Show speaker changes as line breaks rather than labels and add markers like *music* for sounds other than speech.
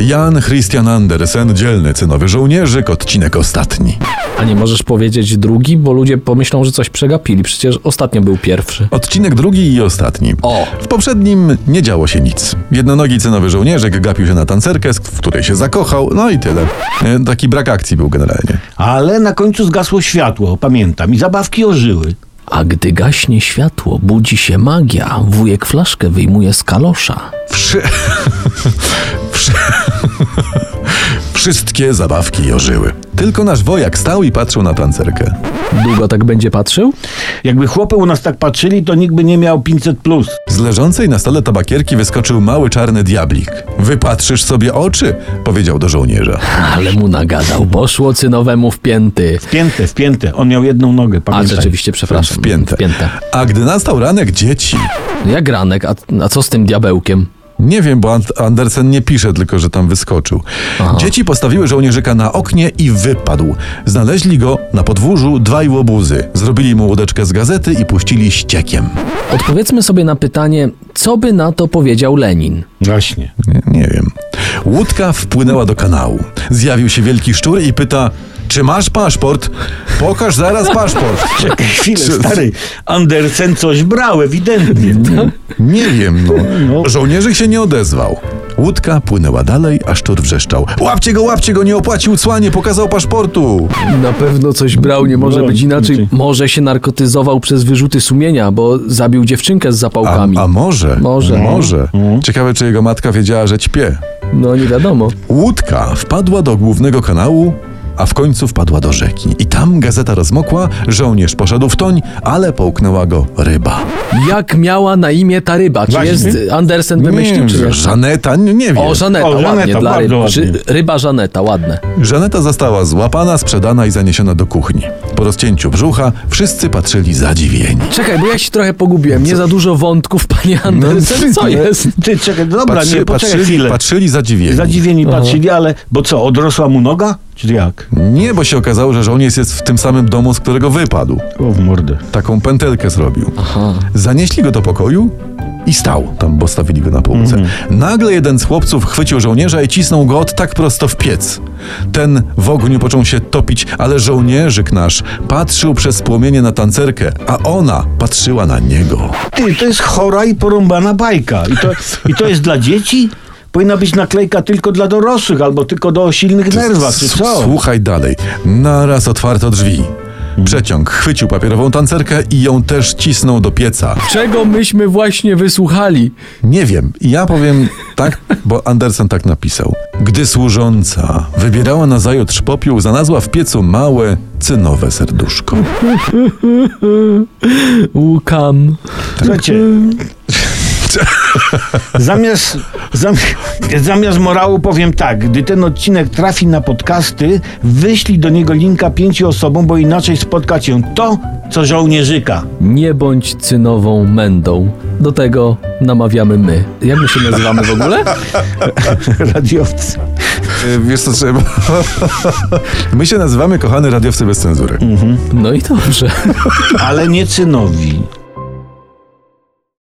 Jan Christian Andersen, dzielny cynowy żołnierzyk, odcinek ostatni.
A nie możesz powiedzieć drugi, bo ludzie pomyślą, że coś przegapili. Przecież ostatnio był pierwszy.
Odcinek drugi i ostatni.
O!
W poprzednim nie działo się nic. Jednonogi cynowy żołnierzyk gapił się na tancerkę, z- w której się zakochał, no i tyle. E, Taki brak akcji był generalnie.
Ale na końcu zgasło światło, pamiętam, i zabawki ożyły.
A gdy gaśnie światło, budzi się magia. Wujek flaszkę wyjmuje z kalosza.
Wszy... *laughs* Wszy... *laughs* Wszystkie zabawki ożyły. Tylko nasz wojak stał i patrzył na tancerkę.
Długo tak będzie patrzył?
Jakby chłopy u nas tak patrzyli, to nikt by nie miał 500 plus.
Z leżącej na stole tabakierki wyskoczył mały czarny diablik. Wypatrzysz sobie oczy, powiedział do żołnierza.
Ale mu nagadał, bo szło cynowemu w pięty.
Wpięte, wpięte. On miał jedną nogę,
A
pamiętaj.
rzeczywiście, przepraszam.
Wpięte.
Wpięte.
A gdy nastał ranek, dzieci.
Jak ranek, a, a co z tym diabełkiem?
Nie wiem, bo And- Andersen nie pisze, tylko że tam wyskoczył. Dzieci postawiły żołnierzyka na oknie i wypadł. Znaleźli go na podwórzu dwaj łobuzy. Zrobili mu łódeczkę z gazety i puścili ściekiem.
Odpowiedzmy sobie na pytanie, co by na to powiedział Lenin?
Właśnie.
Nie, nie wiem. Łódka wpłynęła do kanału. Zjawił się wielki szczur i pyta: Czy masz paszport? Pokaż zaraz paszport.
Czekaj chwilę,
Czy-
stary. Andersen coś brał, ewidentnie.
Nie wiem, no.
No.
Żołnierzyk się nie odezwał. Łódka płynęła dalej, a szczur wrzeszczał. Łapcie go, łapcie go, nie opłacił cła, nie pokazał paszportu.
Na pewno coś brał, nie może
No,
być inaczej.
inaczej.
Może się narkotyzował przez wyrzuty sumienia, bo zabił dziewczynkę z
A,
zapałkami.
a może?
Może.
Może. Ciekawe, czy jego matka wiedziała, że ćpie.
No nie wiadomo.
Łódka wpadła do głównego kanału, a w końcu wpadła do rzeki. I tam gazeta rozmokła, żołnierz poszedł w toń, ale połknęła go ryba.
Jak miała na imię ta ryba? Czy
Właśnie.
jest Andersen wymyślił,
nie,
czy nie?
Żaneta, nie, nie wiem.
O, Żaneta,
O,
ładnie,
Żaneta,
dla ryb.
bardzo ładnie.
Ży- Ryba Żaneta, ładne.
Żaneta została złapana, sprzedana i zaniesiona do kuchni. Po rozcięciu brzucha wszyscy patrzyli zadziwieni.
Czekaj, bo ja się trochę pogubiłem. Nie za dużo wątków,
No,
panie Andersen. Co jest?
Ty, czekaj, dobra,
Patrzy,
nie, poczekaj
patrzyli,
chwilę.
patrzyli zadziwieni.
Zadziwieni patrzyli, ale... Bo co, odrosła mu noga? Czy jak?
Nie, bo się okazało, że żołnierz jest w tym samym domu, z którego wypadł.
O, w mordę.
Taką pętelkę zrobił.
Aha.
Zanieśli go do pokoju i stał tam, bo stawili go na półce.
Mhm.
Nagle jeden z chłopców chwycił żołnierza i cisnął go od tak prosto w piec. Ten w ogniu począł się topić, ale żołnierzyk nasz patrzył przez płomienie na tancerkę, a ona patrzyła na niego.
Ty, to jest chora i porąbana bajka. I to, i to jest dla dzieci? Powinna być naklejka tylko dla dorosłych, albo tylko do silnych nerwach, czy
S-
co?
Słuchaj dalej. Naraz otwarto drzwi. Przeciąg chwycił papierową tancerkę i ją też cisnął do pieca.
Czego myśmy właśnie wysłuchali?
Nie wiem, ja powiem tak, bo Andersen tak napisał. Gdy służąca wybierała na zajutrz popiół, znalazła w piecu małe, cynowe serduszko.
Łukam.
Słuchajcie. Zamiast, zam, zamiast morału powiem tak, gdy ten odcinek trafi na podcasty, wyślij do niego linka pięciu osobom, bo inaczej spotka cię to, co żołnierzyka. *laughs*
Nie bądź cynową mędą. Do tego namawiamy my. Jak my się nazywamy w ogóle?
Radiowcy.
Y, Wiesz co trzeba? My się nazywamy kochany radiowcy bez cenzury.
No i dobrze.
Ale nie cynowi.